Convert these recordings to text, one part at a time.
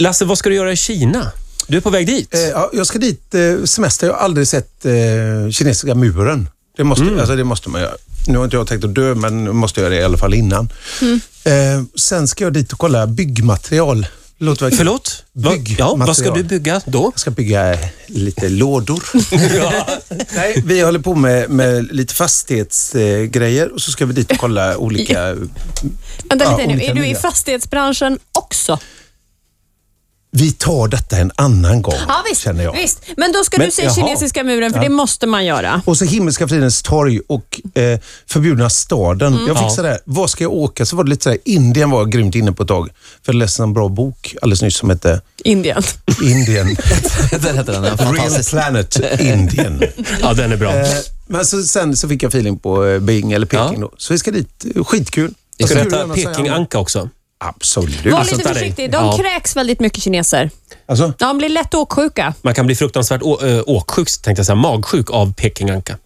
Lasse, vad ska du göra i Kina? Du är på väg dit. Eh, ja, jag ska dit eh, semester. Jag har aldrig sett eh, kinesiska muren. Det måste, alltså, det måste man göra. Nu har inte jag tänkt att dö, men nu måste jag göra det i alla fall innan. Mm. Eh, sen ska jag dit och kolla byggmaterial. Låter verkligen- Förlåt? Va, Bygg- ja, vad ska du material. bygga då? Jag ska bygga eh, lite lådor. Nej, vi håller på med, med lite fastighetsgrejer och så ska vi dit och kolla olika... Vänta Ja, lite nu, olika är du i nya. fastighetsbranschen också? Vi tar detta en annan gång, Ja visst, känner jag. visst. men då ska Men, du se jaha. kinesiska muren för det måste man göra. Och så Himmelska fridens torg och eh, Förbjudna staden. Jag fick Mm. Ja. sådär, var ska jag åka? Så var det lite sådär, Indien var jag grymt inne på ett tag. För jag läste en bra bok alldeles nyss som hette Indien. Indien. Den heter den. ja. Real Fantastisk. Planet Indien. Ja, den är bra. Eh, men så, sen så fick jag feeling på eh, Beijing eller Peking Ja. då. Så vi ska dit. Skitkul. Jag ska Kul äta gärna säga annat. Pekinganka också. Absolut. Var alltså, lite där är- försiktig, de ja. kräks väldigt mycket kineser. Alltså, De blir lätt åksjuka. Man kan bli fruktansvärt å- eh, åksjuk, tänkte jag säga, magsjuk av Pekinganka.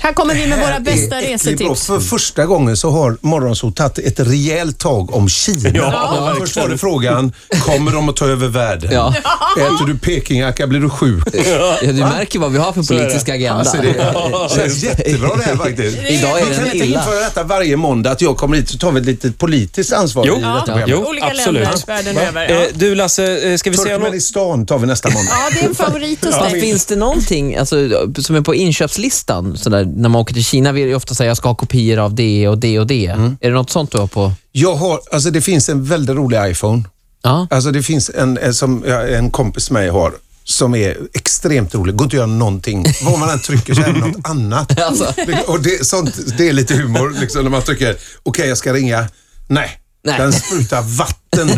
Här kommer vi med våra Det är bästa äckligt bra. resetips. För första gången så har Morgonzoo tagit ett rejält tag om Kina. Ja, Först var det frågan, kommer de att ta över världen? Ja. Äter du pekingacka blir du sjuk. Ja, du märker vad vi har för politisk agenda. Alltså, det känns jättebra det här faktiskt. Idag är Man den kan inte illa. införa detta varje måndag, att jag kommer hit så tar vi ett litet politiskt ansvar Jo. i detta Ja. program. Jo, Olika absolut. länder världen över. Ja. Eh, du Lasse, eh, ska vi säga något? Turkmenistan tar vi nästa måndag. ja, det är en favorit hos Fast dig. finns det någonting alltså, som är på inköpslistan sådär, när man åker till Kina? vill jag ofta säga jag ska ha kopior av det och det och det. Är det något sånt du har på? Jag har, alltså det finns en väldigt rolig iPhone. Ja. Alltså det finns en, en som ja, en kompis med mig har som är extremt rolig. Går inte att göra någonting. Vad man än trycker så är det något annat. Alltså. Och det, sånt, det är lite humor liksom, när man trycker, okej jag ska ringa. Nej, Nej. den sprutar vatten nu.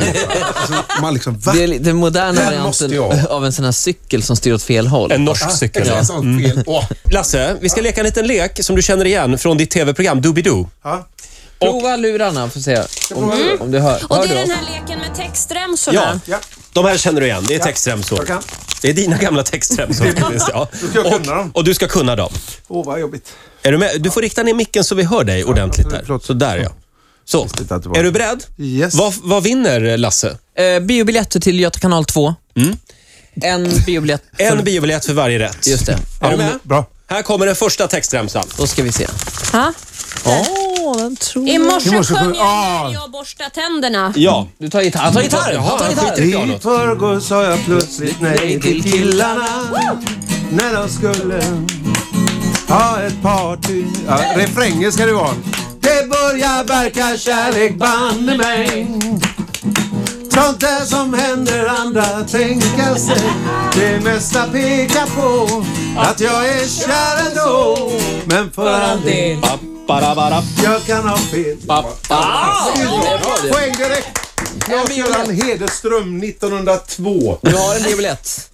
Alltså, man liksom, va? Det är li- den moderna Den varianten måste jag. av en sån här cykel som styr åt fel håll. En norsk cykel. Ett sånt fel. Mm. Åh. Lasse, vi ska leka en liten lek som du känner igen från ditt tv-program Doobidoo. Ja. Prova lurarna får se om, om du hör. Och hör det du är den oss? här leken med Ja, textremsorna. Ja. de här känner du igen. Det är textremsor. jag kan. Det är dina gamla textremsor. faktiskt, ja. ska jag kunna dem. och, och du ska kunna dem. Åh, vad jobbigt. alltså, Är du med? Du får rikta ner micken så vi hör dig ordentligt där. förlåt. Så där ja. Så, inte att det var- är du beredd? Yes. Vad, vad vinner Lasse? Eh, biobiljetter till Göta kanal 2. En biobiljett. En biobiljett för varje rätt. Just det. Är du med? Bra. Här kommer den första textremsan. Då ska vi se. Ja. Åh, den tror I morse måste- sjöng jag Ah. när jag borstade tänderna. Ja. Du tar gitarr. Han tar gitarr! Jaha, Han tar han gitarr. skiter i pianot. förrgår sa jag plötsligt nej till killarna när de skulle ha ett party. Ja, refrängen ska det vara. Det börjar verka kärlek banne mig. Sånt där som händer andra tänka sig. Det mesta pekar på att jag är kär ändå. Men för all del, Mm. Barabara. jag kan ha fel. Ah! Poäng direkt! Lars-Göran Hederström 1902. Du har en biobiljett.